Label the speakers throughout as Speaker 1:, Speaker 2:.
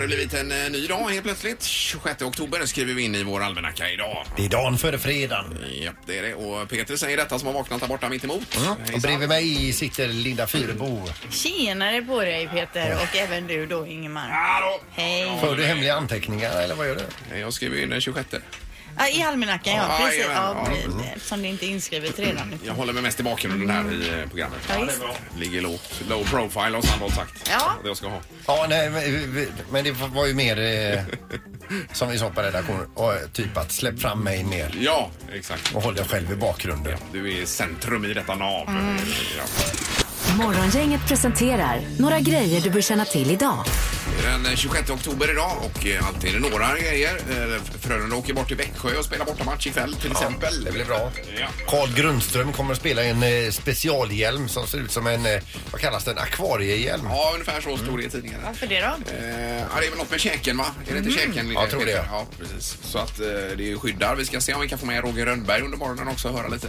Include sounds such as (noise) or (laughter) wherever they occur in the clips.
Speaker 1: det blivit en eh, ny dag helt plötsligt. 26 oktober skriver vi in i vår almanacka idag.
Speaker 2: Det är dagen före fredagen.
Speaker 1: Japp, det är det. Och Peter säger detta som har vaknat där borta mittemot.
Speaker 2: Och
Speaker 1: Hejsan.
Speaker 2: bredvid mig sitter Linda Fyrebo.
Speaker 3: Tjenare på dig Peter och även du då Ingemar.
Speaker 1: Hallå!
Speaker 3: Hej.
Speaker 2: För du hemliga anteckningar eller vad gör du?
Speaker 1: Jag skriver in den 26.
Speaker 3: Ja, I almanackan ja,
Speaker 1: Ja,
Speaker 3: precis.
Speaker 1: jajamän,
Speaker 3: Ja,
Speaker 1: ja.
Speaker 3: pre- Eftersom det inte är inskrivet redan.
Speaker 1: Jag håller mig mest i bakgrunden här i eh, programmet.
Speaker 3: Ja, visst.
Speaker 1: Ligger lågt. Low profile har Sandholt sagt.
Speaker 3: Ja.
Speaker 1: Det jag ska ha.
Speaker 2: Ja, nej, men- men det var ju mer eh, som vi sa på redaktionen. eh, Typ att släpp fram mig mer
Speaker 1: Ja, exakt.
Speaker 2: och håll dig själv i bakgrunden.
Speaker 1: Du är i centrum i detta nav.
Speaker 3: Mm.
Speaker 1: Ja.
Speaker 4: Morgongänget presenterar några grejer du bör känna till idag.
Speaker 1: Det är Den 26 oktober idag och eh, alltid är det några grejer. Eh, Frölunda åker bort till Växjö och spelar bortamatch ikväll till exempel.
Speaker 2: Det blir bra.
Speaker 1: Ja.
Speaker 2: Carl Grundström kommer att spela i en eh, specialhjälm som ser ut som en, eh, vad kallas den, akvariehjälm.
Speaker 1: Ja, ungefär så stod det i tidningen.
Speaker 3: Varför det då?
Speaker 1: Eh, ja, det är väl något med käken, va? Är det inte käken?
Speaker 2: Jag tror det,
Speaker 1: Peter?
Speaker 2: Mm. ja.
Speaker 1: Ja, precis. Så att eh, det är ju skyddar. Vi ska se om vi kan få med Roger Rönnberg under morgonen också och höra lite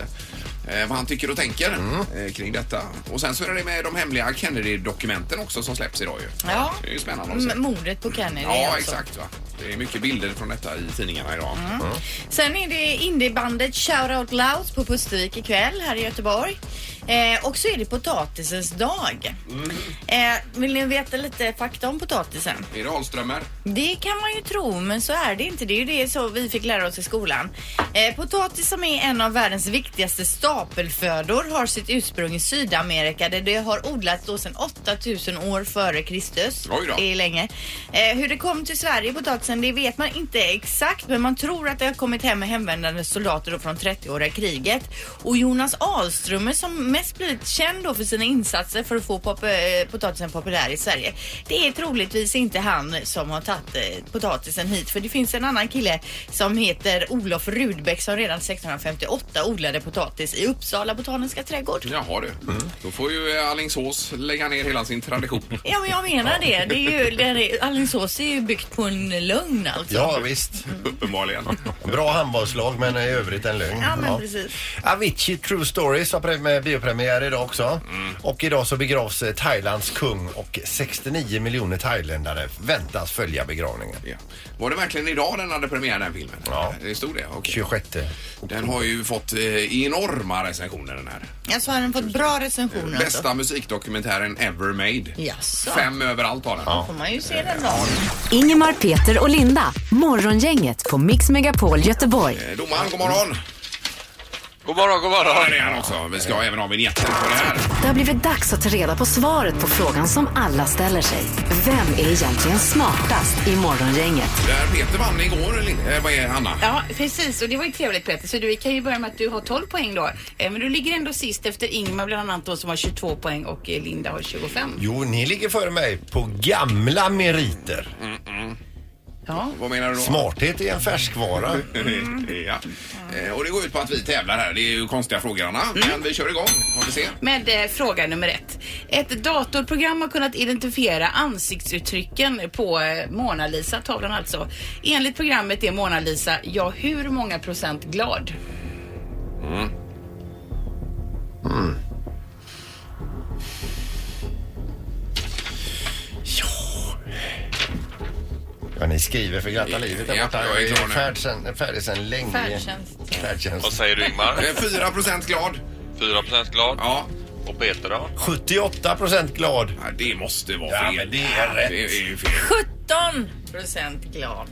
Speaker 1: eh, vad han tycker och tänker
Speaker 2: Mm.
Speaker 1: eh, kring detta. Och sen så är det med de hemliga Kennedy-dokumenten också som släpps idag ju.
Speaker 3: Ja.
Speaker 1: Det är ju spännande att se.
Speaker 3: M- Mordet på Kennedy
Speaker 1: Ja,
Speaker 3: alltså.
Speaker 1: exakt. Va? Det är mycket bilder från detta i tidningarna idag.
Speaker 2: Mm.
Speaker 3: Sen är det indiebandet Shout Out Loud på Pustervik ikväll här i Göteborg. Eh, och så är det potatisens dag.
Speaker 1: Mm.
Speaker 3: Eh, vill ni veta lite fakta om potatisen?
Speaker 1: Är det Ahlströmer?
Speaker 3: Det kan man ju tro, men så är det inte. Det är ju det så vi fick lära oss i skolan. Eh, potatis som är en av världens viktigaste stapelfödor har sitt ursprung i Sydamerika där det har odlats då sedan 8000 år före Kristus.
Speaker 1: Oj då.
Speaker 3: Det är länge. Eh, hur det kom till Sverige, potatisen, det vet man inte exakt men man tror att det har kommit hem med hemvändande soldater då från 30-åriga kriget. Och Jonas Ahlströmer som mest blivit känd då för sina insatser för att få pop- eh, potatisen populär i Sverige. Det är troligtvis inte han som har tagit eh, potatisen hit för det finns en annan kille som heter Olof Rudbeck som redan 1658 odlade potatis i Uppsala botaniska trädgård.
Speaker 1: Jaha du.
Speaker 2: Mm.
Speaker 1: Då får ju eh, Alingsås lägga ner hela sin tradition. (laughs)
Speaker 3: Ja men jag menar det. det är ju, det är, Alingsås är ju byggt på en lögn alltså.
Speaker 2: Ja, visst. (laughs)
Speaker 1: Uppenbarligen.
Speaker 2: Bra handbollslag men i övrigt en lögn.
Speaker 3: Ja, men precis.
Speaker 2: Avicii True Stories har prem- biopremiär idag också.
Speaker 1: Mm.
Speaker 2: Och idag så begravs eh, Thailands kung och 69 miljoner thailändare väntas följa begravningen.
Speaker 1: Ja. Var det verkligen idag den hade premiär den filmen?
Speaker 2: Ja.
Speaker 1: Det stod det? Okej.
Speaker 2: 26.
Speaker 1: Den har ju fått eh, enorma recensioner den här.
Speaker 3: Alltså har den fått bra recensioner?
Speaker 1: Bästa musikdokumentären ever made.
Speaker 3: Jaså.
Speaker 1: Fem överallt har den.
Speaker 3: Då får man ju se den då.
Speaker 4: Ingemar, Peter och Linda. Morgongänget på Mix Megapol Göteborg.
Speaker 1: Eh, Domaren, god morgon!
Speaker 5: God morgon, god
Speaker 1: Ja,
Speaker 5: morgon.
Speaker 1: det är han också. Vi ska även ha vignetten på det här.
Speaker 4: Det har blivit dags att ta reda på svaret på frågan som alla ställer sig. Vem är egentligen smartast i Morgongänget?
Speaker 1: Där Peter vann igår, Lin- eh, vad är Hanna?
Speaker 6: Ja, precis. Och det var ju trevligt Peter. Så du kan ju börja med att du har 12 poäng då. Eh, Men du ligger ändå sist efter Ingmar bland annat då som har 22 poäng och eh, Linda har 25.
Speaker 2: Jo, ni ligger före mig på gamla meriter.
Speaker 1: Mm.
Speaker 6: Ja.
Speaker 1: Vad menar du då?
Speaker 2: Smarthet är en färskvara.
Speaker 1: (laughs) Mm. ja. Eh, Och det går ut på att vi tävlar här. Det är ju konstiga frågor, Hanna. Men vi kör igång. Får vi se.
Speaker 6: Med eh, fråga nummer ett. Ett datorprogram har kunnat identifiera ansiktsuttrycken på eh, Mona Lisa-tavlan alltså. Enligt programmet är Mona Lisa, ja hur många procent glad?
Speaker 2: Ja, ni skriver för glatta livet där
Speaker 1: Ja,
Speaker 2: borta.
Speaker 1: jag är klar nu.
Speaker 2: Färd sen- Färdig sen länge.
Speaker 6: Färdtjänst.
Speaker 2: Färdtjänst.
Speaker 5: Vad säger du Ingmar?
Speaker 1: Eh, 4 procent glad.
Speaker 5: 4% glad.
Speaker 1: Ja.
Speaker 5: Och Peter då?
Speaker 2: 78 procent glad.
Speaker 1: Ja, Det måste vara
Speaker 2: Ja,
Speaker 1: fel.
Speaker 2: men det är rätt.
Speaker 1: Det är ju fel.
Speaker 3: 17 procent glad.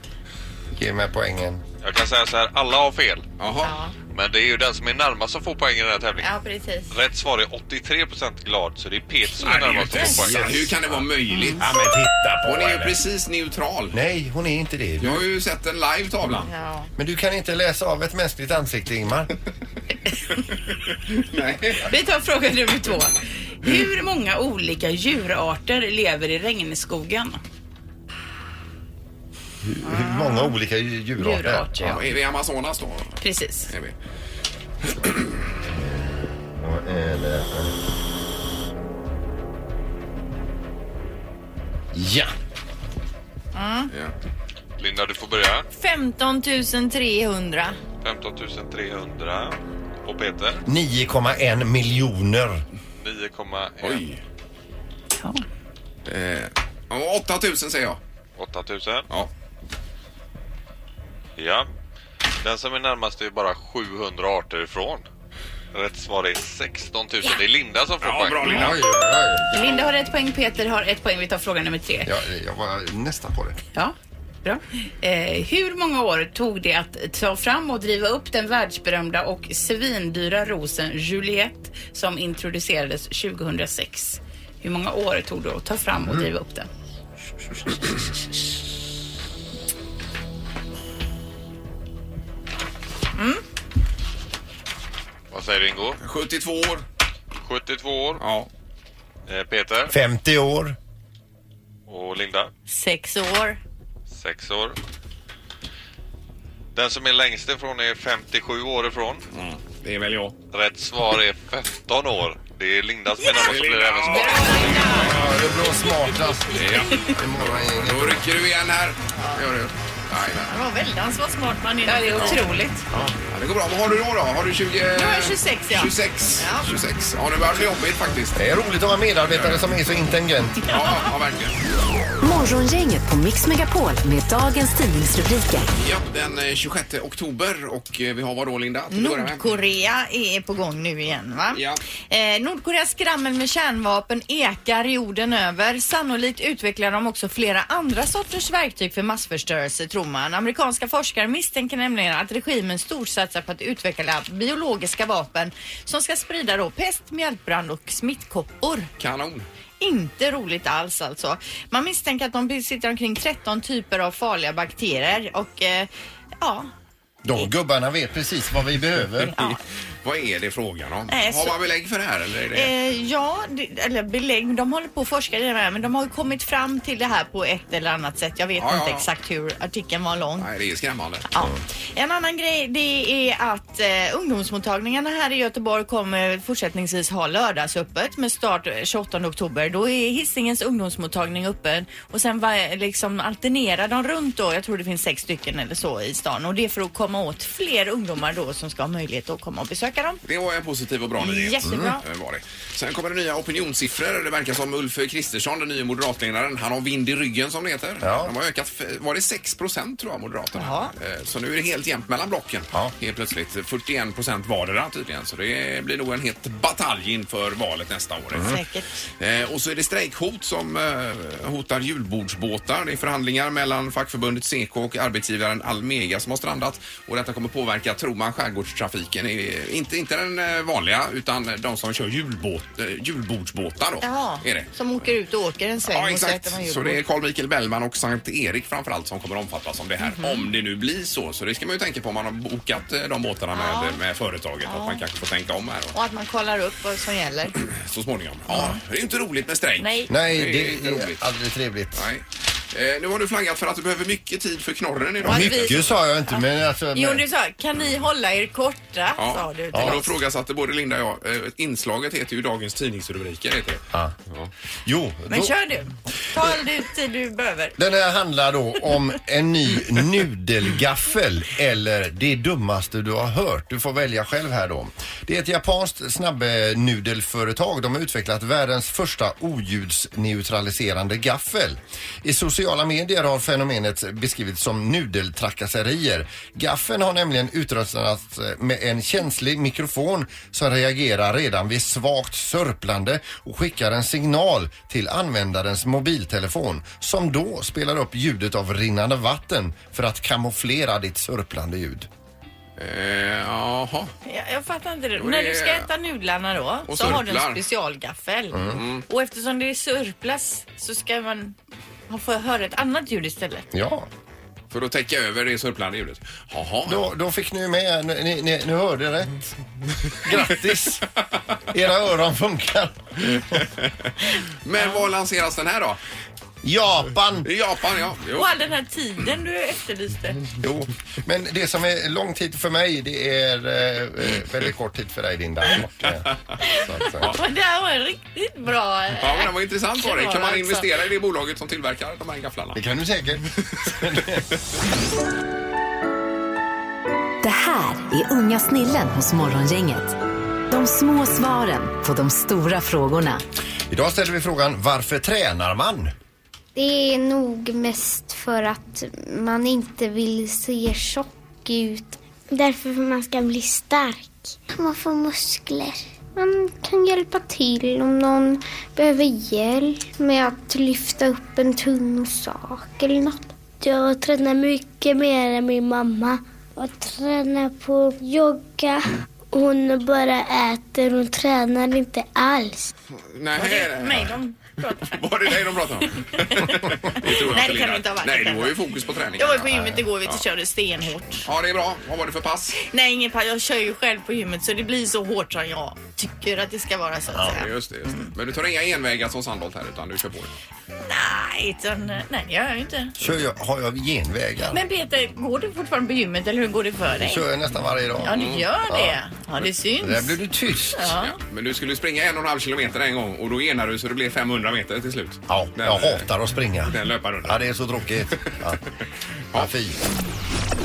Speaker 2: Ge mig poängen.
Speaker 5: Jag kan säga så här, alla har fel.
Speaker 1: Jaha.
Speaker 5: Men det är ju den som är närmast som får poäng i den här tävlingen.
Speaker 3: Ja, precis.
Speaker 5: Rätt svar är 83% glad, så det är Peter som
Speaker 1: Nej,
Speaker 5: är
Speaker 1: det är ju
Speaker 5: närmast som
Speaker 1: inte
Speaker 5: får
Speaker 1: sant.
Speaker 5: poäng.
Speaker 1: Hur kan det vara möjligt?
Speaker 2: Ja, men titta
Speaker 1: Hon är ju
Speaker 2: henne.
Speaker 1: precis neutral.
Speaker 2: Nej, hon är inte det.
Speaker 1: Jag har ju sett den live tavlan.
Speaker 3: Ja.
Speaker 2: Men du kan inte läsa av ett mänskligt ansikte, (laughs) Ingmar.
Speaker 1: Nej.
Speaker 6: Vi tar fråga nummer två. Hur många olika djurarter lever i regnskogen?
Speaker 2: Hur många olika dju- djurarter?
Speaker 6: Djurarter, ja.
Speaker 1: Ja, är vi i Amazonas då?
Speaker 6: Precis.
Speaker 1: Är vi.
Speaker 2: Ja, eller- Ja,
Speaker 1: Ja.
Speaker 5: Linda, du får börja.
Speaker 3: 15 300.
Speaker 5: 15 300. Och Peter?
Speaker 2: 9,1 miljoner.
Speaker 5: 9,1.
Speaker 1: Oj. Eh, ja, 8000 säger jag.
Speaker 5: 8000.
Speaker 1: Ja.
Speaker 5: Ja. Den som är närmast är bara 700 arter ifrån. Rätt svar är 16 000. Det är Linda som får
Speaker 1: Ja,
Speaker 5: poäng.
Speaker 1: bra
Speaker 2: Oj,
Speaker 1: Linda.
Speaker 2: oj, oj.
Speaker 6: Linda har ett poäng, Peter har ett poäng. Vi tar fråga nummer tre.
Speaker 2: Ja, jag var nästan på det.
Speaker 6: Ja, bra. Eh, hur många år tog det att ta fram och driva upp den världsberömda och svindyra rosen Juliette som introducerades 2006? Hur många år tog det att ta fram och driva upp den?
Speaker 5: Vad säger du Ingo?
Speaker 1: 72 år.
Speaker 5: 72 år.
Speaker 1: Ja.
Speaker 5: Eh, Peter
Speaker 2: 50 år.
Speaker 5: och Linda.
Speaker 3: Sex år.
Speaker 5: 6 år. Den som är längst ifrån är 57 år ifrån.
Speaker 1: Det är väl jag.
Speaker 5: Rätt svar är 15 år. Det är Linda som är närmast så blir det även
Speaker 1: Ja.
Speaker 5: svar.
Speaker 2: Ja, det blå smartast
Speaker 1: Ja.
Speaker 2: imorgon.
Speaker 1: Då rycker du igen här. Gör du. Jajamän.
Speaker 3: Han var väldans vad smart man är.
Speaker 6: Ja, det är otroligt.
Speaker 1: Ja, det går bra. Vad har du då? då? Har du 20...
Speaker 3: Jag är 26 ja.
Speaker 1: 26.
Speaker 3: Ja.
Speaker 1: 26. Ja, nu börjar det bli jobbigt faktiskt.
Speaker 2: Det är roligt att ha medarbetare som är så intelligent.
Speaker 1: Ja, ja verkligen.
Speaker 4: Morgongänget på Mix Megapol med dagens tidningsrubriker.
Speaker 1: Ja, den eh, 26 oktober och eh, vi har vad då Linda? Till att börja med.
Speaker 3: Nordkorea är på gång nu igen va?
Speaker 1: Ja.
Speaker 3: Eh, Nordkoreas skrammel med kärnvapen ekar jorden över. Sannolikt utvecklar de också flera andra sorters verktyg för massförstörelse tror man. Amerikanska forskare misstänker nämligen att regimen storsatsar på att utveckla biologiska vapen som ska sprida då pest, mjältbrand och smittkoppor.
Speaker 1: Kanon.
Speaker 3: Inte roligt alls alltså. Man misstänker att de besitter omkring 13 typer av farliga bakterier och eh, ja,
Speaker 2: De gubbarna vet precis vad vi behöver.
Speaker 1: Vad är det frågan om?
Speaker 3: Nej,
Speaker 1: har
Speaker 3: Eh, så-
Speaker 1: man belägg för det här eller? Är det...
Speaker 3: Eh, ja, det, eller belägg. men De håller på att forska i det här men de har ju kommit fram till det här på ett eller annat sätt. Jag vet
Speaker 1: Ja,
Speaker 3: inte
Speaker 1: ja, ja.
Speaker 3: exakt hur artikeln var lång.
Speaker 1: Nej, det är skrämmande.
Speaker 3: Ja. En annan grej det är att eh, ungdomsmottagningarna här i Göteborg kommer fortsättningsvis ha lördagsöppet med start eh, 28 oktober. Då är Hisingens ungdomsmottagning öppen och sen va- liksom alternerar de runt då. Jag tror det finns sex stycken eller så i stan och det är för att komma åt fler ungdomar då som ska ha möjlighet att komma och besöka dem.
Speaker 1: Det var en positiv och bra nyhet.
Speaker 3: Jättebra.
Speaker 1: Eh, Var det. Sen kommer det nya opinionssiffror. Det verkar som Ulf Kristersson, den nya moderatledaren, han har vind i ryggen som det heter.
Speaker 2: Ja.
Speaker 1: De har ökat, f- var det 6 procent tror jag, Moderaterna?
Speaker 3: Jaha.
Speaker 1: Eh, Så nu är det helt jämnt mellan blocken.
Speaker 2: Ja.
Speaker 1: Helt plötsligt 41 procent vardera tydligen. Så det blir nog en het batalj inför valet nästa år.
Speaker 3: Säkert.
Speaker 1: Eh, och så är det strejkhot som eh, hotar julbordsbåtar. Det är förhandlingar mellan fackförbundet Seko och arbetsgivaren Almega som har strandat. Och detta kommer påverka, tror man, skärgårdstrafiken. Eh, Inte, inte den eh, vanliga, utan de som kör julbåt, eh, julbordsbåtar då.
Speaker 3: Jaha,
Speaker 1: Är det.
Speaker 3: som åker ut och åker en sväng
Speaker 1: Ja,
Speaker 3: och så äter man
Speaker 1: exakt. Så
Speaker 3: julbord.
Speaker 1: det är Carl Michael Bellman och Sankt Erik framförallt som kommer omfattas av det här.
Speaker 3: Mhm.
Speaker 1: Om det nu blir så. Så det ska man ju tänka på om man har bokat eh, de båtarna med, med företaget. Att man kanske får tänka om här då,
Speaker 3: Och att man kollar upp vad som gäller.
Speaker 1: så småningom. Ja, det är ju inte roligt med strejk.
Speaker 3: Nej.
Speaker 2: Nej,
Speaker 1: Det är inte
Speaker 2: det
Speaker 1: roligt.
Speaker 2: är aldrig trevligt.
Speaker 1: Nej. Eh, nu har du flaggat för att du behöver mycket tid för knorren idag.
Speaker 3: Ja,
Speaker 1: Peter.
Speaker 3: vi-
Speaker 2: Gud sa jag inte, men alltså...
Speaker 3: Jo, du sa kan ni hålla er korta?
Speaker 1: Ja.
Speaker 3: Sa du till
Speaker 1: ja, då
Speaker 3: oss.
Speaker 1: frågas att det både Linda och jag. Eh, inslaget heter ju Dagens tidningsrubriker. Heter det.
Speaker 2: Ja. Jo,
Speaker 3: Men
Speaker 2: då-
Speaker 3: kör du. Ta all du tid du behöver.
Speaker 2: Den här handlar då om en ny nudelgaffel eller det dummaste du har hört. Du får välja själv här då. Det är ett japanskt snabbnudelföretag. De har utvecklat världens första oljudsneutraliserande gaffel. I sociala medier har fenomenet beskrivits som nudeltrakasserier. Gaffeln har nämligen utrustats eh, med en känslig mikrofon som reagerar redan vid svagt sörplande och skickar en signal till användarens mobiltelefon som då spelar upp ljudet av rinnande vatten för att kamouflera ditt sörplande ljud.
Speaker 1: Eh, Jaha.
Speaker 3: Jag, jag fattar inte det.
Speaker 1: Jo,
Speaker 3: När
Speaker 1: det-
Speaker 3: du ska äta nudlarna då så
Speaker 1: Och Mm.
Speaker 3: har du
Speaker 1: sörplar.
Speaker 3: en specialgaffel. Och eftersom det är sörplas så ska man man får höra ett annat ljud istället.
Speaker 2: Ja,
Speaker 1: För att täcka över det sörplande ljudet. Jaha.
Speaker 2: då, då fick ni ju med. Ni, ni, ni hörde rätt. Grattis! Era öron funkar.
Speaker 1: (laughs) Men var lanseras den här då?
Speaker 2: Japan!
Speaker 1: I Japan, ja. Jo.
Speaker 3: Och all den här tiden du efterlyste.
Speaker 2: Jo, men det som är lång tid för mig det är eh, eh, väldigt kort tid för dig Linda. Och, eh, så att, säga.
Speaker 3: Men (laughs) det här var en riktigt bra... eh,
Speaker 1: Ja, men det var intressant var det. Kan man
Speaker 3: alltså.
Speaker 1: investera i det bolaget som tillverkar de här gafflarna?
Speaker 2: Det kan du säkert.
Speaker 4: Det här är unga snillen hos Morgongänget. De små svaren på de stora frågorna.
Speaker 2: Idag ställer vi frågan varför tränar man?
Speaker 7: Det är nog mest för att man inte vill se tjock ut. Därför för man ska bli stark. Man får muskler. Man kan hjälpa till om någon behöver hjälp med att lyfta upp en tung sak eller något. Jag tränar mycket mer än min mamma. Jag tränar på yoga. Hon bara äter, hon tränar inte alls.
Speaker 1: Nej,
Speaker 3: Mig de pratar.
Speaker 1: (laughs) Var det dig de pratade
Speaker 3: (laughs)
Speaker 1: om? Det tror jag
Speaker 3: Nej, det kan
Speaker 1: Linda.
Speaker 3: det inte ha varit.
Speaker 1: Nej, du var ju fokus på träningen.
Speaker 3: Jag var på gymmet igår vet
Speaker 1: Ja.
Speaker 3: du, körde stenhårt.
Speaker 1: Ja, det är bra. Vad var det för pass?
Speaker 3: Nej, ingen pa- jag kör ju själv på gymmet så det blir så hårt som jag tycker att det ska vara så att säga.
Speaker 1: Just det, just det. Men du tar inga envägar som Sandholt här utan du kör på det.
Speaker 3: Nej, utan, nej det gör jag ju inte.
Speaker 2: Kör jag, har jag genvägar?
Speaker 3: Men Peter, går du fortfarande på gymmet eller hur går det för dig?
Speaker 2: Kör jag nästan varje dag.
Speaker 3: Ja, du gör
Speaker 2: Ja.
Speaker 3: det. Ja, det
Speaker 2: Där blev
Speaker 3: syns.
Speaker 2: du tyst.
Speaker 3: Ja.
Speaker 1: Ja, men du skulle springa en och en halv kilometer en gång och då enade du så det blev 500 meter till slut.
Speaker 2: Ja,
Speaker 1: Den- eh,
Speaker 2: jag hatar att springa.
Speaker 1: Den löparrundan.
Speaker 2: Ja, det är så tråkigt. Ja. Ja, fy.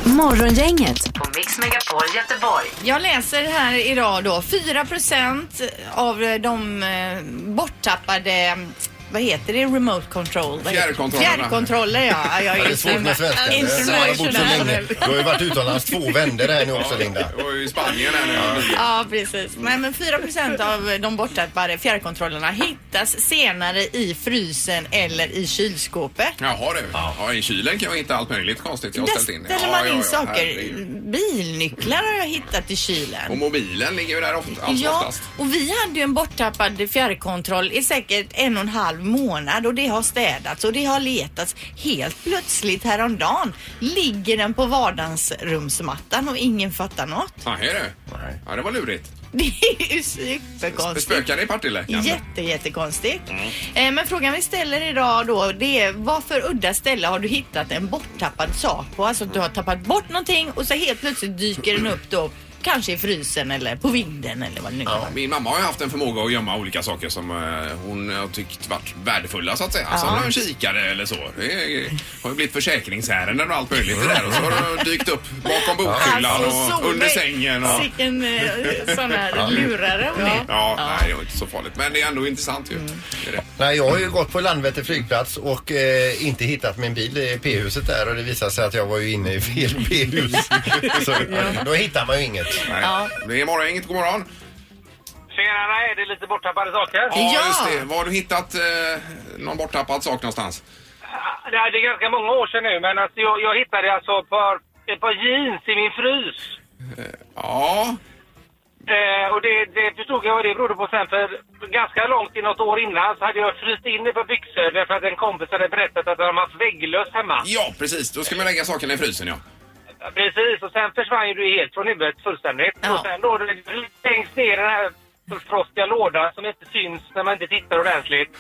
Speaker 4: Morgongänget på Mix Megapol Göteborg.
Speaker 3: Jag läser här idag då 4 av de eh, borttappade vad heter det? Remote control? Vad heter-
Speaker 1: Fjärrkontrollerna.
Speaker 3: Fjärrkontroller ja. Jag
Speaker 2: Ja, det är svårt med svenskan. Jag har bott så länge. Du har ju varit utomlands två vändor här nu också, Linda.
Speaker 1: Och i Spanien här nu.
Speaker 3: Ja, precis. Nej, men 4 av de borttappade fjärrkontrollerna hittas senare i frysen eller i kylskåpet.
Speaker 1: Jaha du. Ja, i kylen kan jag hitta allt möjligt konstigt jag har
Speaker 3: Där
Speaker 1: ställt in.
Speaker 3: ställer
Speaker 1: Ja,
Speaker 3: man
Speaker 1: ja,
Speaker 3: in
Speaker 1: ja,
Speaker 3: saker.
Speaker 1: herregud.
Speaker 3: Bilnycklar har jag hittat i
Speaker 1: Och
Speaker 3: kylen.
Speaker 1: mobilen ligger ju där ofta, allt
Speaker 3: Ja,
Speaker 1: oftast.
Speaker 3: och vi hade ju en borttappad fjärrkontroll i säkert en och en halv månad och det har städats och det har letats. Helt plötsligt häromdagen ligger den på vardagsrumsmattan och ingen fattar något. (laughs)
Speaker 1: Ja, här är du.
Speaker 2: Nej.
Speaker 1: Ja, det var lurigt.
Speaker 3: Det är ju superkonstigt.
Speaker 1: Spökar det i Partille? kanske?
Speaker 3: Jätte, jättekonstigt.
Speaker 1: Mm.
Speaker 3: Eh, Men frågan vi ställer idag då det är varför udda ställe har du hittat en borttappad sak på? Alltså att du har tappat bort någonting och så helt plötsligt dyker den upp då kanske i frysen eller på vinden eller vad det nu kan vara.
Speaker 1: Min mamma har ju haft en förmåga att gömma olika saker som eh, hon har tyckt varit värdefulla så att säga. Alltså hon kikare eller så. Det är- har ju blivit försäkringsärenden och allt möjligt det där. Och så har de dykt upp bakom bokhyllan
Speaker 3: Solveig,
Speaker 1: och under sängen. Och...
Speaker 3: Sicken Alltså, eh, sån här lurare hon är.
Speaker 1: Ja, Mm. nej det är inte så farligt. Men det är ändå intressant ju. Det är det.
Speaker 2: Nej, jag har ju gått på Landvetter flygplats och eh, inte hittat min bil i P-huset där och det visade sig att jag var ju inne i (laughs) fel P-hus. Så, Då hittar man ju inget.
Speaker 1: Nej. Det är morgon, inget god morgon.
Speaker 8: Tjenare, är det lite borttappade saker?
Speaker 1: Ja,
Speaker 3: Ja.
Speaker 1: just det. Var har du hittat eh, någon borttappad sak någonstans?
Speaker 8: Nej, det är ganska många år sedan nu, men alltså, jag, jag hittade alltså ett par, ett par jeans i min frys.
Speaker 1: Ja,
Speaker 8: Eh, och det, det förstod jag vad det berodde på sen, för ganska långt i något år innan så hade jag fryst in ett par byxor därför att en kompis hade berättat att de hade haft vägglöss hemma.
Speaker 1: ja precis. Då ska man lägga sakerna i frysen ja.
Speaker 8: Precis, och sen försvann ju du helt från huvudet fullständigt.
Speaker 3: Ja.
Speaker 8: Och sen då det- längst ner i den här frostiga lådan som inte syns när man inte tittar ordentligt.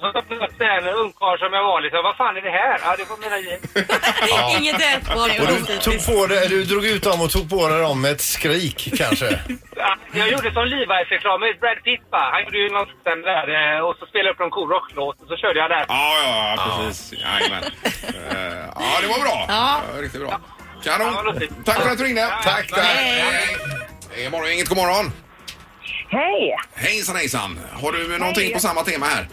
Speaker 8: Så öppnade jag upp den ungkarl som jag var liksom. Vad fan är det här? Ja, det var mina jeans.
Speaker 3: (laughs) Inget ätbart.
Speaker 2: Och du, tog på dig, du drog ut dem och tog på dig dem med ett skrik kanske.
Speaker 8: Ja, Jag gjorde som Levi's-reklamen med Brad Pitt va? Han gjorde ju någon sån där eh, och så spelade jag upp någon cool rocklåt och så körde jag där.
Speaker 1: Ja, ja, ja, precis. Jajamän. Eh, Ja, det var bra.
Speaker 3: Ja.
Speaker 1: Eh, Riktigt bra.
Speaker 8: Ja, det var
Speaker 1: Kanon.
Speaker 8: lustigt.
Speaker 1: Tack för att du ringde.
Speaker 2: Tack, tack.
Speaker 1: Hej. Det är morgon, inget god morgon.
Speaker 9: Hej!
Speaker 1: Hejsan, hejsan. Har du någonting på samma tema här?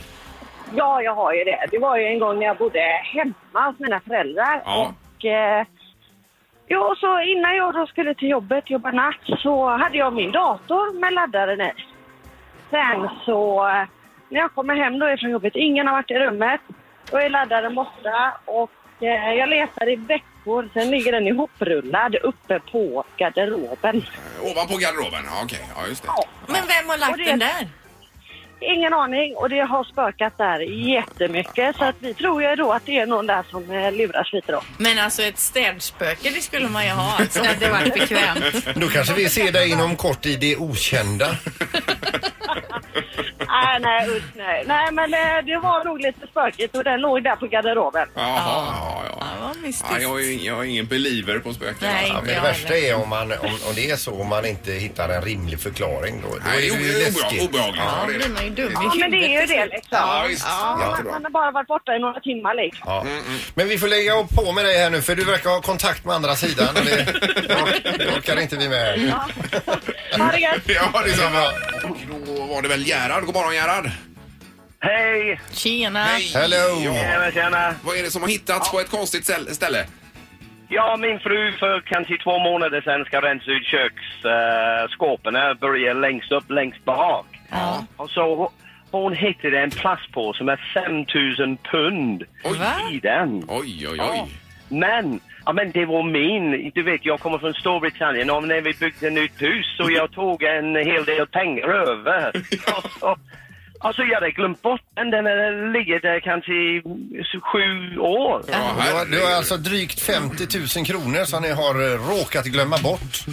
Speaker 9: Ja, jag har ju det. Det var ju en gång när jag bodde hemma hos mina föräldrar.
Speaker 1: Ja.
Speaker 9: Och, eh, jo, så innan jag då skulle till jobbet, jobba natt, så hade jag min dator med laddaren i. Sen så, eh, när jag kommer hem då ifrån jobbet, ingen har varit i rummet, då är laddaren borta och eh, jag letar i veckor, sen ligger den ihoprullad uppe på garderoben.
Speaker 1: Ovanpå garderoben? Ja, okej. Ja, just det.
Speaker 3: Men vem har lagt
Speaker 9: Och det-
Speaker 3: den där?
Speaker 9: Ingen aning och det har spökat där jättemycket så att vi tror ju då att det är någon där som eh, luras lite då.
Speaker 3: Men alltså ett städspöke det skulle man ju ha. Alltså, det var bekvämt.
Speaker 2: Då kanske vi ser dig inom kort i det okända.
Speaker 9: Nej, nej, usch, nej. Nej, men eh, det var nog lite spökigt och den låg där på garderoben.
Speaker 1: Jaha, ja,
Speaker 3: Ja,
Speaker 1: ja.
Speaker 3: vad mystiskt.
Speaker 1: ja jag, är, ju- jag är ingen believer på spöken.
Speaker 3: Nej,
Speaker 1: alltså.
Speaker 2: Ja, men det värsta är om, man, om, om det är så om man inte hittar en rimlig förklaring. Då, då
Speaker 1: Nej, det är
Speaker 2: det ju
Speaker 1: obe-
Speaker 2: läskigt.
Speaker 1: obe- obehagligt. Ja,
Speaker 3: Ja,
Speaker 1: det är
Speaker 3: blir
Speaker 1: det.
Speaker 3: man ju dum i
Speaker 9: Ja, men det är ju
Speaker 3: huvudet.
Speaker 9: det liksom.
Speaker 1: Ja, visst. Jättebra.
Speaker 9: Man har bara varit borta i några timmar liksom.
Speaker 2: Ja.
Speaker 8: Mm,
Speaker 2: Men vi får lägga upp på med dig här nu för du verkar ha kontakt med andra sidan.
Speaker 9: (laughs)
Speaker 2: Och det, det orkar inte vi med. (laughs) här.
Speaker 9: Ha det gött.
Speaker 1: Ja, det är samma. Då var det väl Gerhard. God morgon, Gerhard.
Speaker 8: Hej!
Speaker 3: Tjena.
Speaker 1: Hej!
Speaker 2: Hello.
Speaker 1: Ja.
Speaker 8: Tjena, tjena!
Speaker 1: Vad är det som har hittats på ett konstigt ställ- ställe?
Speaker 8: Ja, min fru för kanske två månader sedan ska rensa ut köksskåpen. Uh, börjar längst upp, längst bak.
Speaker 3: Ja.
Speaker 8: Och så hon- hon hittade en plastpåse med 5000 pund
Speaker 1: Oj.
Speaker 3: Va?
Speaker 8: i den.
Speaker 1: Oj, oj,
Speaker 8: Ja.
Speaker 1: oj.
Speaker 8: Men, ja men det var min. Du vet, jag kommer från Storbritannien och när vi byggde ett nytt hus så jag tog en hel del pengar över.
Speaker 1: (laughs)
Speaker 8: Och- och- Alltså jag hade glömt bort den. Den hade ligger där kanske i sju år.
Speaker 1: Ja,
Speaker 2: Det var,
Speaker 1: herregud.
Speaker 2: det var alltså drygt 50 000 kronor som ni har eh, råkat glömma bort.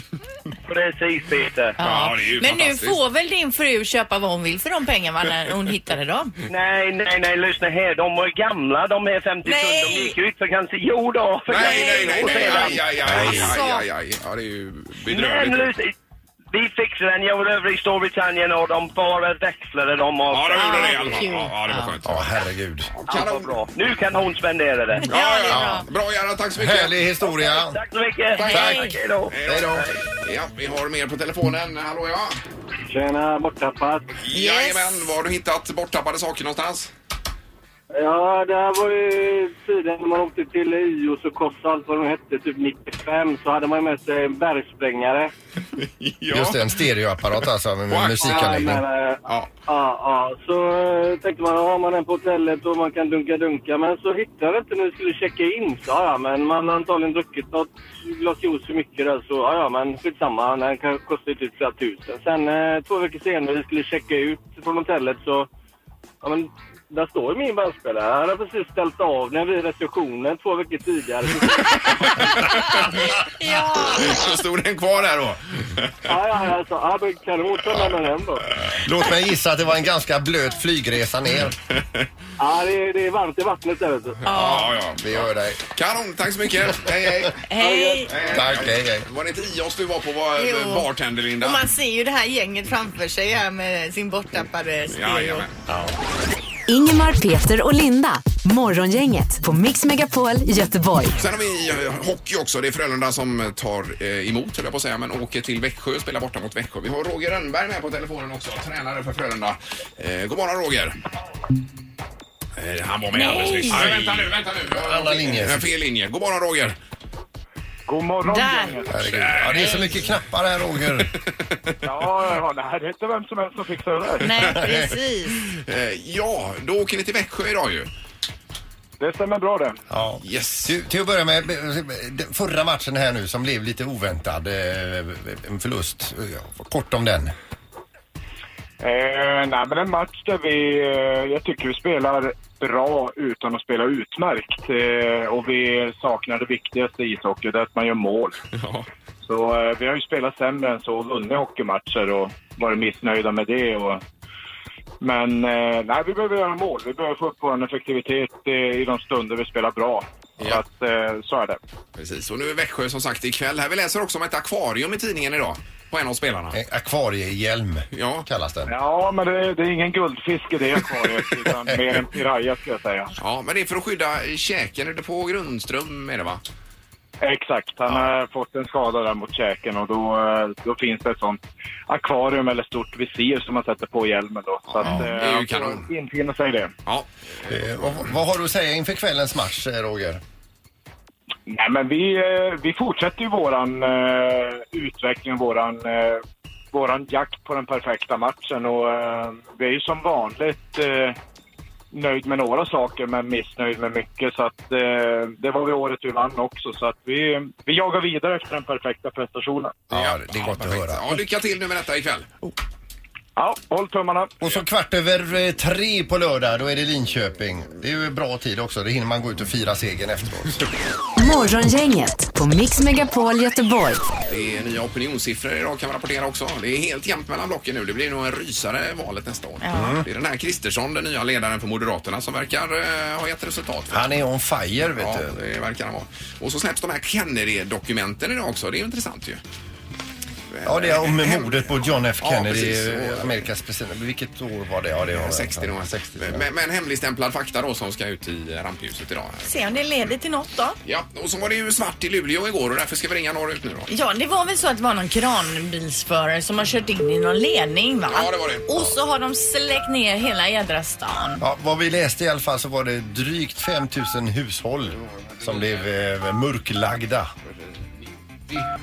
Speaker 8: Precis Peter.
Speaker 1: Ja, det är ju
Speaker 3: Men nu
Speaker 1: fantastiskt.
Speaker 3: får väl din fru köpa vad hon vill för de pengarna när hon hittade dem?
Speaker 8: Nej, nej, nej, lyssna här. De var gamla de här 50
Speaker 3: Nej.
Speaker 8: pund. De gick ut för kanske... Jo då, för
Speaker 1: Nej, nej, nej,
Speaker 8: och
Speaker 1: nej,
Speaker 8: sedan-
Speaker 1: aj, aj, aj,
Speaker 3: Alltså.
Speaker 1: aj, aj, aj. Ja, det är ju
Speaker 8: Men
Speaker 1: bedrövligt.
Speaker 8: lyssna, vi fixade den. Jag var över i Storbritannien och de bara växlade dem och...
Speaker 1: Ja, de gjorde det i
Speaker 3: Ah,
Speaker 1: alla fall.
Speaker 3: kul.
Speaker 1: Ja, ja, det var skönt.
Speaker 2: Ja, herregud.
Speaker 8: Allt var bra. Nu kan hon spendera det.
Speaker 1: Ja,
Speaker 3: Ja, det är
Speaker 1: ja. Bra, Göran. Tack så mycket.
Speaker 2: Härlig historia.
Speaker 8: Tack så mycket.
Speaker 3: Tack. Tack.
Speaker 8: Hej då.
Speaker 2: Hej då.
Speaker 1: Ja, vi har mer på telefonen. Hallå, ja.
Speaker 8: Tjena, borttappad.
Speaker 1: Jajamän, var har du hittat borttappade saker någonstans?
Speaker 8: Ja, det här var ju tiden när man åkte till Ios och Koss allt vad de hette, typ 95. Så hade man med sig en bergsprängare.
Speaker 1: Ja.
Speaker 2: Just det, en stereoapparat alltså med
Speaker 1: Wow.
Speaker 2: musikanläggning.
Speaker 8: Ja, men, eh,
Speaker 1: Ja.
Speaker 8: Ja, ja. Så eh, tänkte man, har man den på hotellet och man kan dunka-dunka. Men så hittade jag inte när vi skulle checka in. Så, ja, ja, men man har antagligen druckit något glas juice för mycket där. Så ja, ja, men skitsamma. Den kan- kostar ju typ flera tusen. Sen eh, två veckor senare vi skulle checka ut från hotellet så... Ja, men där står ju min bandspelare. Jag hade precis ställt av den vid receptionen två veckor tidigare. (laughs)
Speaker 3: Ja.
Speaker 1: Så stod den kvar där då.
Speaker 8: ja, ja, jag sa, ja, men kanon, ta med den hem då.
Speaker 2: Låt mig gissa att det var en ganska blöt flygresa ner.
Speaker 8: Ja, det, är- det är varmt i vattnet där vet du.
Speaker 1: Ja, ja.
Speaker 2: Vi hör dig.
Speaker 1: Kanon, tack så mycket. Hej, hej.
Speaker 3: Hej.
Speaker 2: Tack, hej, hej.
Speaker 1: Var det inte Ios du var på var,
Speaker 3: Jo.
Speaker 1: bartender, Linda?
Speaker 3: Och man ser ju det här gänget framför sig här med sin borttappade stereo.
Speaker 1: Jajamän.
Speaker 4: Ingemar, Peter och Linda. Morgongänget på Mix Megapol Göteborg.
Speaker 1: Sen har vi eh, hockey också. Det är Frölunda som tar eh, emot, höll jag på att säga, men åker till Växjö och spelar borta mot Växjö. Vi har Roger Rönnberg med på telefonen också, tränare för Frölunda. Eh, god morgon Roger! Eh, han var med alldeles nyss. Nej, vänta nu, vänta nu. Jag-
Speaker 2: Alla linjer.
Speaker 1: Eh, Fel linje. God morgon Roger!
Speaker 8: God morgon
Speaker 3: Där.
Speaker 2: Herregud. Ja, det är så mycket knappar här, Roger.
Speaker 8: Ja, ja, nej, det är inte vem som helst som fixar det där.
Speaker 3: Nej, precis.
Speaker 1: Eh, ja, då åker ni till Växjö idag ju.
Speaker 8: Det stämmer bra det.
Speaker 2: Ja.
Speaker 1: Yes.
Speaker 2: Till, till att börja med, den förra matchen här nu som blev lite oväntad. eh, En förlust. Ja, Kort om den.
Speaker 8: Eh, nej, men en match där vi, eh, jag tycker vi spelar bra utan att spela utmärkt. Eh, och vi saknar det viktigaste i ishockey, det är att man gör mål.
Speaker 1: Ja.
Speaker 8: Så eh, vi har ju spelat sämre än så och vunnit hockeymatcher och varit missnöjda med det. Och, men eh, nej, vi behöver göra mål. Vi behöver få upp vår effektivitet eh, i de stunder vi spelar bra.
Speaker 1: Ja.
Speaker 8: Så att, eh, så är det.
Speaker 1: Precis, och nu är Växjö som sagt ikväll här. Vi läser också om ett akvarium i tidningen idag på en av spelarna.
Speaker 2: Eh, Akvariehjälm
Speaker 1: Ja.
Speaker 2: kallas den.
Speaker 8: Ja, men det, det är ingen guldfisk i det akvariet,
Speaker 1: (laughs)
Speaker 8: utan mer en piraya skulle jag säga.
Speaker 1: Ja, men det är för att skydda eh, käken. Är det på Grundström är det va?
Speaker 8: Exakt, han har fått en skada där mot käken och då, eh, då finns det ett sånt akvarium eller stort visir som man sätter på hjälmen då. Så att,
Speaker 1: det är
Speaker 8: eh,
Speaker 1: ju
Speaker 8: han får
Speaker 1: kanon.
Speaker 8: infinna sig i det.
Speaker 1: Ja,
Speaker 2: Eh, Vad, vad har du att säga inför kvällens match, eh, Roger?
Speaker 8: Nej, men vi, eh, vi fortsätter ju våran eh, utveckling, våran, eh, våran jakt på den perfekta matchen och eh, vi är ju som vanligt eh, nöjd med några saker men missnöjd med mycket så att eh, det var vi året vi vann också så att vi, vi jagar vidare efter den perfekta prestationen.
Speaker 2: Ja, det är gott att
Speaker 1: perfekt.
Speaker 2: höra.
Speaker 1: Ja, lycka till nu med detta ikväll.
Speaker 8: Ja, håll tummarna.
Speaker 2: Och så kvart över eh, tre på lördag, då är det Linköping. Det är ju bra tid också, det hinner man gå ut och fira segern efteråt.
Speaker 4: Morgongänget på Mix Megapol Göteborg.
Speaker 1: Det är nya opinionssiffror idag kan man rapportera också. Det är helt jämnt mellan blocken nu. Det blir nog en rysare i valet nästa år.
Speaker 2: Mm.
Speaker 1: Det är den här Kristersson, den nya ledaren för Moderaterna, som verkar eh, ha gett resultat. För.
Speaker 2: Han är on fire, vet
Speaker 1: Ja,
Speaker 2: du.
Speaker 1: det verkar han vara. Och så släpps de här Kennedy-dokumenten idag också. Det är ju intressant ju.
Speaker 2: Ja, det är om
Speaker 1: Hem-
Speaker 2: mordet på John F
Speaker 1: Ja,
Speaker 2: Kennedy,
Speaker 1: precis.
Speaker 2: eh, Amerikas president. Vilket år var det? Ja, det var
Speaker 1: 60 Eh, då.
Speaker 2: 60
Speaker 1: men, men hemligstämplad fakta då som ska ut i rampljuset idag. här.
Speaker 3: Se om det leder till något då.
Speaker 1: Ja, och så var det ju svart i Luleå igår och därför ska vi ringa norrut nu då.
Speaker 3: Ja, det var väl så att det var någon kranbilsförare som har kört in i någon ledning va?
Speaker 1: Ja, det var det.
Speaker 3: Och så har de släckt ner hela jädra stan.
Speaker 2: Ja, vad vi läste i alla fall så var det drygt 5000 hushåll som blev eh, mörklagda.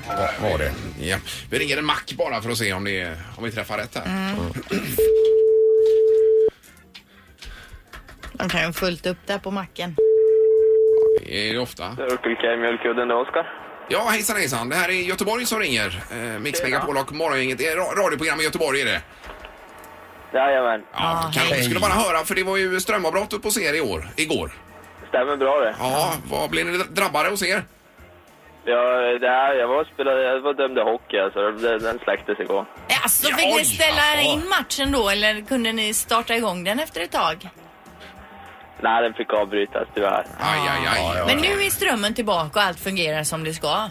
Speaker 2: Va- Var det.
Speaker 1: Ja. Vi ringer en mack bara för att se om, det är, om vi träffar rätt här.
Speaker 2: Mm.
Speaker 3: De kan ju ha fullt upp där på macken.
Speaker 1: Det är det ofta.
Speaker 8: Där uppe i mjölkkudden, det är Oskar.
Speaker 1: Ja, hejsan hejsan. Det här är Göteborg som ringer. Eh, Mix Megapol och Morgongänget. Det är ra- radioprogram i Göteborg är det.
Speaker 8: Jajamän,
Speaker 1: Ja,
Speaker 3: Ah,
Speaker 1: kanske
Speaker 2: hej.
Speaker 1: skulle bara höra för det var ju strömavbrott uppe hos er i år, igår.
Speaker 8: stämmer bra det.
Speaker 1: Ja, vad blev ni drabbade hos er?
Speaker 8: Jag, det här, jag var spelade, jag var dömd i hockey alltså, den, den släcktes igår.
Speaker 3: Alltså, fick
Speaker 1: Oj,
Speaker 3: ni ställa
Speaker 1: ja.
Speaker 3: in matchen då eller kunde ni starta igång den efter ett tag?
Speaker 8: Nej, den fick avbrytas tyvärr.
Speaker 1: Aj, aj, aj.
Speaker 2: Ja, ja.
Speaker 3: Men nu är strömmen tillbaka och allt fungerar som det ska.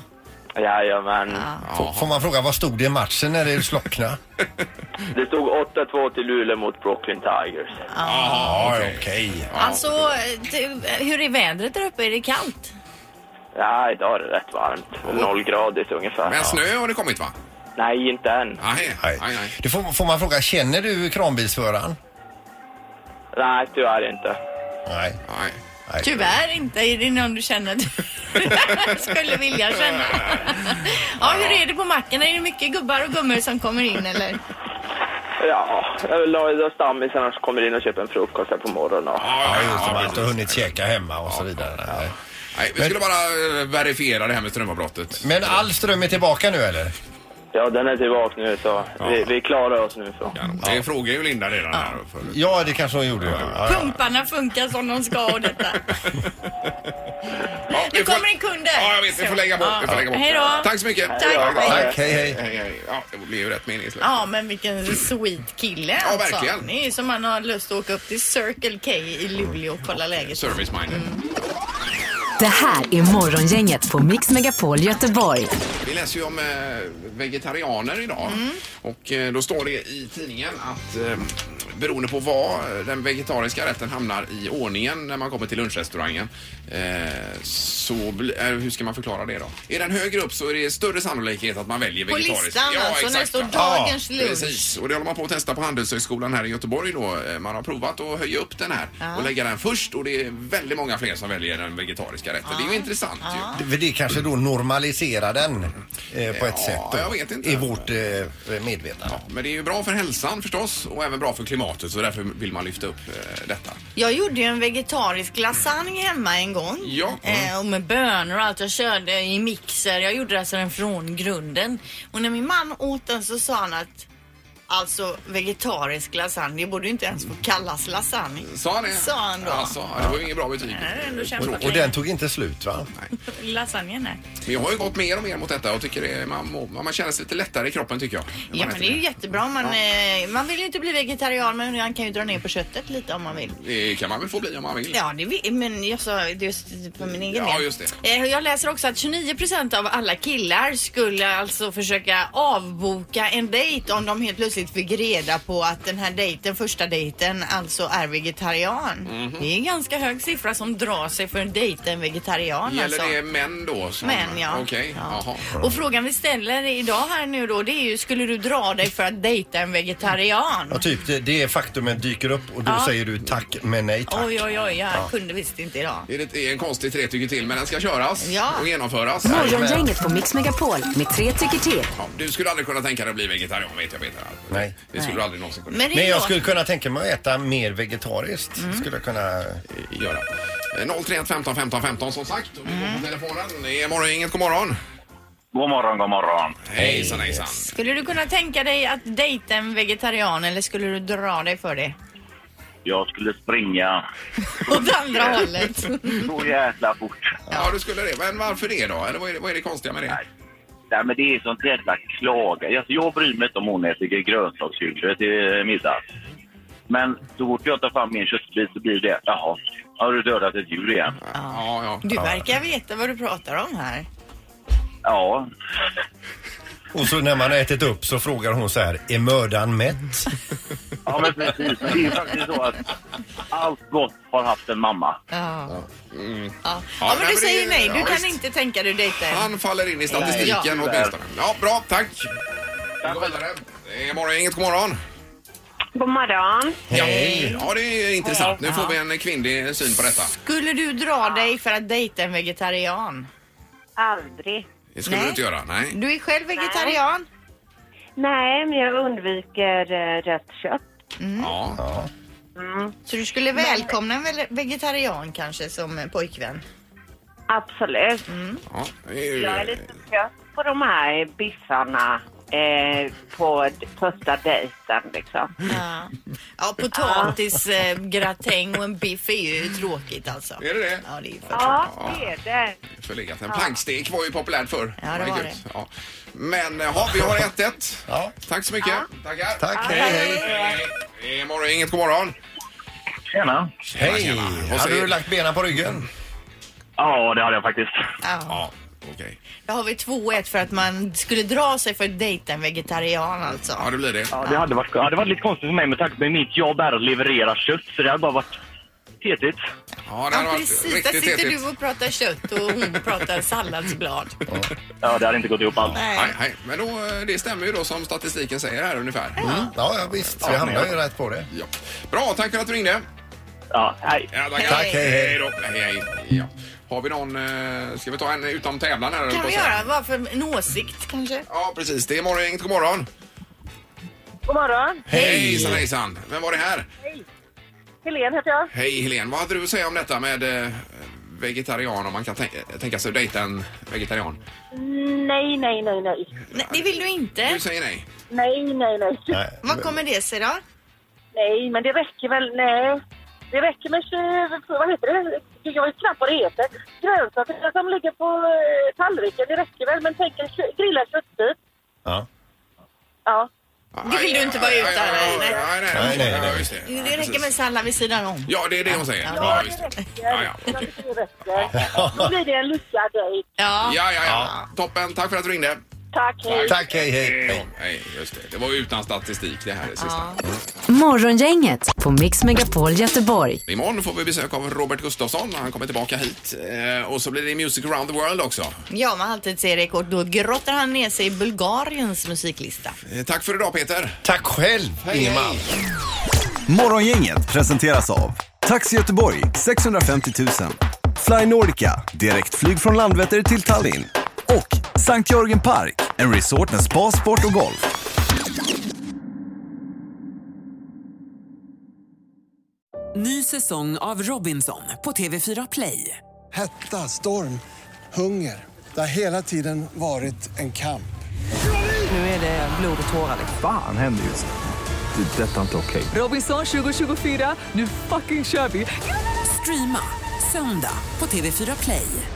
Speaker 8: Jajamän.
Speaker 2: F- Får man fråga, vad stod det i matchen när det
Speaker 1: (laughs)
Speaker 2: slocknade?
Speaker 8: Det stod 8-2 till Luleå mot Brooklyn Tigers.
Speaker 2: Ja,
Speaker 1: Jaha, okej.
Speaker 2: okej.
Speaker 3: Alltså, det- hur är vädret där uppe? Är det kallt?
Speaker 8: Ja, idag är det rätt varmt. Nollgradigt ungefär.
Speaker 1: Men snö har det kommit va?
Speaker 8: Nej, inte än.
Speaker 1: Nej, nej,
Speaker 2: Nej.
Speaker 1: nej.
Speaker 2: Det får, får man fråga, känner du kranbilsföraren?
Speaker 8: Nej, tyvärr inte.
Speaker 2: Nej.
Speaker 1: nej.
Speaker 2: nej.
Speaker 3: Tyvärr inte. Är det någon du (laughs) känner att du skulle vilja känna? ja, hur är det på macken? Är det mycket gubbar och gummor som kommer in eller?
Speaker 8: Ja, jag vill ha idag stammisarna som kommer in och köper en frukost här på morgonen. och-
Speaker 1: Ja,
Speaker 2: Ja, just det. Man har inte
Speaker 1: precis.
Speaker 2: hunnit käka hemma och så vidare. Nej.
Speaker 1: Nej, vi skulle bara eh, verifiera det här med strömavbrottet.
Speaker 2: Men all ström är tillbaka nu eller?
Speaker 8: Ja, den är tillbaka nu så vi, vi klarar oss nu så.
Speaker 1: Ja, Det frågar ju Linda redan här. För...
Speaker 2: Ja, det kanske hon gjorde. Ja, ja.
Speaker 3: Pumparna funkar som de ska och detta.
Speaker 1: Ja, vi
Speaker 3: Nu
Speaker 1: får-
Speaker 3: kommer en kund där.
Speaker 1: Ja, jag vet. Vi får lägga bort. Vi får lägga bort.
Speaker 3: Hej då.
Speaker 1: Tack så mycket.
Speaker 3: Tack.
Speaker 2: Tack, hej hej.
Speaker 1: Hej, hej. Ja, det blir ju rätt meningslöst.
Speaker 3: Ja, men vilken sweet kille
Speaker 1: Ja,
Speaker 3: alltså.
Speaker 1: verkligen.
Speaker 3: Det är som man har lust att åka upp till Circle K i Luleå och kolla läget.
Speaker 1: Service-minded.
Speaker 4: Det här är Morgongänget på Mix Megapol Göteborg.
Speaker 1: Vi läser ju om eh, vegetarianer idag.
Speaker 3: Mm.
Speaker 1: Och eh, då står det i tidningen att eh, beroende på var den vegetariska rätten hamnar i ordningen när man kommer till lunchrestaurangen eh, så bli- eh, hur ska man förklara det då? Är den högre upp så är det större sannolikhet att man väljer
Speaker 3: På
Speaker 1: vegetariskt.
Speaker 3: listan alltså, när det står
Speaker 1: va?
Speaker 3: dagens lunch.
Speaker 1: Precis, och det håller man på att testa på Handelshögskolan här i Göteborg då. Eh, Man har provat att höja upp den här och lägga den först och det är väldigt många fler som väljer den vegetariska rätten. Det är ju intressant ju.
Speaker 2: Det- för Det kanske då normaliserar den eh, på ett sätt då,
Speaker 1: jag vet inte.
Speaker 2: i vårt eh, medvetande.
Speaker 1: Ja, men det är ju bra för hälsan förstås och även bra för klimatet så därför vill man lyfta upp eh, detta.
Speaker 3: Jag gjorde ju en vegetarisk lasagne hemma en gång.
Speaker 1: Ja.
Speaker 3: Eh, och med bönor och allt. Jag körde i mixer. Jag gjorde alltså den från grunden. Och när min man åt den så sa han att alltså vegetarisk lasagne, det borde ju inte ens få kallas lasagne.
Speaker 1: Sa han det?
Speaker 3: Sa han då.
Speaker 1: Alltså, det var ju inget bra betyg.
Speaker 3: Jag har ändå kämpat
Speaker 2: Och
Speaker 3: länge.
Speaker 2: den tog inte slut va?
Speaker 3: Lasagne, nej.
Speaker 1: Men jag har ju gått mer och mer mot detta och tycker det, man, mår- man känner sig lite lättare i kroppen tycker jag. Man
Speaker 3: Ja men
Speaker 1: äter
Speaker 3: det är ju jättebra om man, eh, man vill ju inte bli vegetarian men man kan ju dra ner på köttet lite om man vill.
Speaker 1: Det kan man väl få bli om man vill.
Speaker 3: Ja, det vi, men jag sa just för min egen
Speaker 1: Ja,
Speaker 3: del.
Speaker 1: just
Speaker 3: Eh, Jag läser också att 29 av alla killar skulle alltså försöka avboka en dejt om de helt plötsligt fick reda på att den här dejten, första dejten, alltså är vegetarian. Det är en ganska hög siffra som drar sig för en dejt en vegetarian
Speaker 1: Gäller
Speaker 3: alltså.
Speaker 1: det män då? Som,
Speaker 3: Män, ja.
Speaker 1: Okej,
Speaker 3: Ja.
Speaker 1: jaha.
Speaker 3: Och frågan vi ställer idag här nu då det är ju skulle du dra dig för att dejta en vegetarian?
Speaker 2: Ja, typ det, det faktumet dyker upp och då säger du tack men nej tack.
Speaker 3: Oj, oj, oj, jag kunde visst inte idag.
Speaker 1: Det är ett- det är en konstig tre tycker till men den ska köras
Speaker 3: Ja.
Speaker 1: och genomföras.
Speaker 4: Morgongänget på Mix Megapol med tre tycker till.
Speaker 1: Ja, du skulle aldrig kunna tänka dig att bli vegetarian vet jag Peter.
Speaker 2: Nej.
Speaker 1: Det skulle du aldrig någonsin kunna
Speaker 3: Men
Speaker 2: Men
Speaker 3: det är
Speaker 2: jag
Speaker 3: då- Mm.
Speaker 2: skulle kunna tänka mig att äta mer vegetariskt. Skulle jag kunna...
Speaker 1: göra. Eh, 031 15 15 15 som sagt. Och vi
Speaker 3: Mm.
Speaker 1: går på telefonen. Det är morgongänget, god morgon.
Speaker 8: God morgon, god morgon.
Speaker 1: Hejsan hejsan.
Speaker 3: Skulle du kunna tänka dig att dejta en vegetarian eller skulle du dra dig för det?
Speaker 8: Jag skulle springa
Speaker 3: Åt andra
Speaker 1: (laughs)
Speaker 3: hållet.
Speaker 8: så jävla fort.
Speaker 1: Ja, du skulle det. Men varför det då? Eller vad är det, vad är det konstiga med det?
Speaker 8: Nej, men det är sånt jävla klaga. Alltså, jag bryr mig inte om hon äter grönsakshuvudar till middag. Men så fort jag tar fram min köttbit så blir det, jaha, har du dödat ett djur igen?
Speaker 1: Ja, ja.
Speaker 3: Du verkar veta vad du pratar om här.
Speaker 8: Ja.
Speaker 2: Och så när man har ätit upp så frågar hon så här, är mördan
Speaker 3: (laughs)
Speaker 2: mätt?
Speaker 10: Ja, men precis. Men det är ju faktiskt så att allt gott har haft en mamma.
Speaker 3: Ja.
Speaker 1: Mm.
Speaker 3: Ja.
Speaker 1: Ja, nej,
Speaker 3: ja, men du
Speaker 1: men
Speaker 3: säger
Speaker 1: det-
Speaker 3: nej. Du
Speaker 1: ja,
Speaker 3: kan
Speaker 1: visst.
Speaker 3: inte tänka dig dejta en.
Speaker 1: Han faller in i statistiken
Speaker 3: Ja.
Speaker 1: åtminstone. Ja, bra. Tack. Tack Det är morgon, inget god morgon.
Speaker 9: God morgon.
Speaker 2: Hej!
Speaker 1: Ja, det är intressant. Nu får vi en kvinnlig syn på detta.
Speaker 3: Skulle du dra dig för att dejta en vegetarian?
Speaker 9: Aldrig.
Speaker 1: Det skulle
Speaker 3: Nej.
Speaker 1: du inte göra. Nej.
Speaker 3: Du är själv vegetarian.
Speaker 9: Nej, men jag undviker eh, rött kött.
Speaker 1: Ja.
Speaker 3: Så du skulle välkomna en ve- vegetarian kanske som eh, pojkvän?
Speaker 9: Absolut.
Speaker 1: ja. det är ju-
Speaker 9: Jag är lite trött på de här biffarna eh, på d- första dejten liksom.
Speaker 3: Ja, ja potatisgratäng och en biff är ju tråkigt alltså.
Speaker 1: Är det det?
Speaker 3: Ja, det är ju för
Speaker 9: Ja, det är det.
Speaker 1: Förlegat. En plankstek var ju populärt förr.
Speaker 3: Ja, det var
Speaker 1: Herregud.
Speaker 3: det.
Speaker 1: Ja. Men ja, vi
Speaker 3: (laughs)
Speaker 1: har 1-1.
Speaker 2: Ja.
Speaker 1: Tack så mycket. Tackar.
Speaker 2: Tack, hej, hej!
Speaker 1: Hej. Det är morgon, inget god morgon.
Speaker 10: Tjena.
Speaker 2: Hej!
Speaker 1: tjena. Vad
Speaker 2: Hade
Speaker 1: säger-
Speaker 2: du lagt benen på ryggen?
Speaker 10: Ja, det hade jag faktiskt.
Speaker 3: Ja.
Speaker 1: Ja, okej.
Speaker 3: Då har vi 2-1 för att man skulle dra sig för att dejta en vegetarian alltså.
Speaker 1: Ja, det blir det.
Speaker 10: Ja, det hade varit, ja, det var lite konstigt för mig med tanke på att mitt jobb är att leverera kött, så det hade bara varit tetigt.
Speaker 1: Ja, det hade
Speaker 3: Ja,
Speaker 1: varit
Speaker 3: precis. Där
Speaker 1: riktigt
Speaker 3: sitter
Speaker 1: tetigt.
Speaker 3: du och pratar kött och hon pratar salladsblad.
Speaker 10: Ja, det hade inte gått ihop alls.
Speaker 1: Nej, nej. Men då, eh, det stämmer ju då som statistiken säger här ungefär.
Speaker 2: Mm. Ja, ja, visst. Vi hamnar ju rätt på det.
Speaker 1: Ja. Bra, tack för att du ringde.
Speaker 10: Ja, nej.
Speaker 1: Ja,
Speaker 2: Tack, hej, hej.
Speaker 1: då. Hej, hej. Ja. Har vi någon... eh, Ska vi ta en utom tävlan här? höll
Speaker 3: Kan
Speaker 1: på
Speaker 3: vi
Speaker 1: att säga?
Speaker 3: göra bara för en åsikt kanske?
Speaker 1: Ja, precis. Det är morgon, inget god morgon.
Speaker 9: God morgon.
Speaker 1: Hej! Hejsan, hejsan. Vem var det här?
Speaker 9: Helene heter jag.
Speaker 1: Hej, Helen. Vad hade du att säga om detta med eh, vegetarian, om man kan tän- tänka sig att dejta en vegetarian?
Speaker 9: Nej, nej, nej, nej.
Speaker 3: Nej, det vill du
Speaker 1: Du
Speaker 3: inte.
Speaker 1: säger nej.
Speaker 9: Nej, nej, nej.
Speaker 2: Nej.
Speaker 3: Vad kommer det sig då?
Speaker 9: Nej, men det räcker väl. Nej. Det räcker med... tjugo- Vad heter det? Jag vet knappt vad det heter. Grönsaker som ligger på eh, tallriken, det räcker väl. Men tänk en kö- grillad köttbit.
Speaker 2: Ja.
Speaker 9: Ja.
Speaker 3: Det vill du inte vara
Speaker 1: Aj,
Speaker 3: utan,
Speaker 1: aj, aj,
Speaker 3: nej.
Speaker 1: aj, Nej,
Speaker 2: Nej, nej, nej.
Speaker 1: Ja, just det. Ja,
Speaker 3: Det räcker
Speaker 1: precis.
Speaker 3: med sallad vid sidan om.
Speaker 1: Ja, det är det hon säger. Ja,
Speaker 9: Ja,
Speaker 1: just
Speaker 9: det
Speaker 1: det.
Speaker 9: räcker.
Speaker 1: Ja, ja.
Speaker 9: Ja, det räcker. Då blir det en lyckad dejt.
Speaker 3: Ja.
Speaker 1: Ja, ja, ja. Toppen. Tack för att du ringde.
Speaker 9: Tack, hej.
Speaker 2: Tack, hej, hej!
Speaker 1: Hej. Nej, just det. Det var ju utan statistik det här det sista.
Speaker 4: Morgongänget på Mix Megapol Göteborg.
Speaker 1: Imorgon får vi besök av Robert Gustafsson. Han kommer tillbaka hit. Eh, Och så blir det Music around the world också.
Speaker 3: Ja, man alltid ser rekord. Då grottar han ner sig i Bulgariens musiklista.
Speaker 1: Eh, Tack för idag Peter.
Speaker 2: Tack själv, Ingemar!
Speaker 11: Morgongänget presenteras av Taxi Göteborg 650 000 Fly Nordica, direktflyg från Landvetter till Tallinn och Sankt Jörgen Park, en resort med spa, sport och golf.
Speaker 12: Ny säsong av Robinson på TV4 Play.
Speaker 13: Hetta, storm, hunger. Det har hela tiden varit en kamp.
Speaker 12: Nu är det blod och tårar. liksom.
Speaker 11: Fan händer just nu. det. är Detta är inte okej.
Speaker 12: Robinson 2024, nu fucking kör vi! Streama söndag på TV4 Play.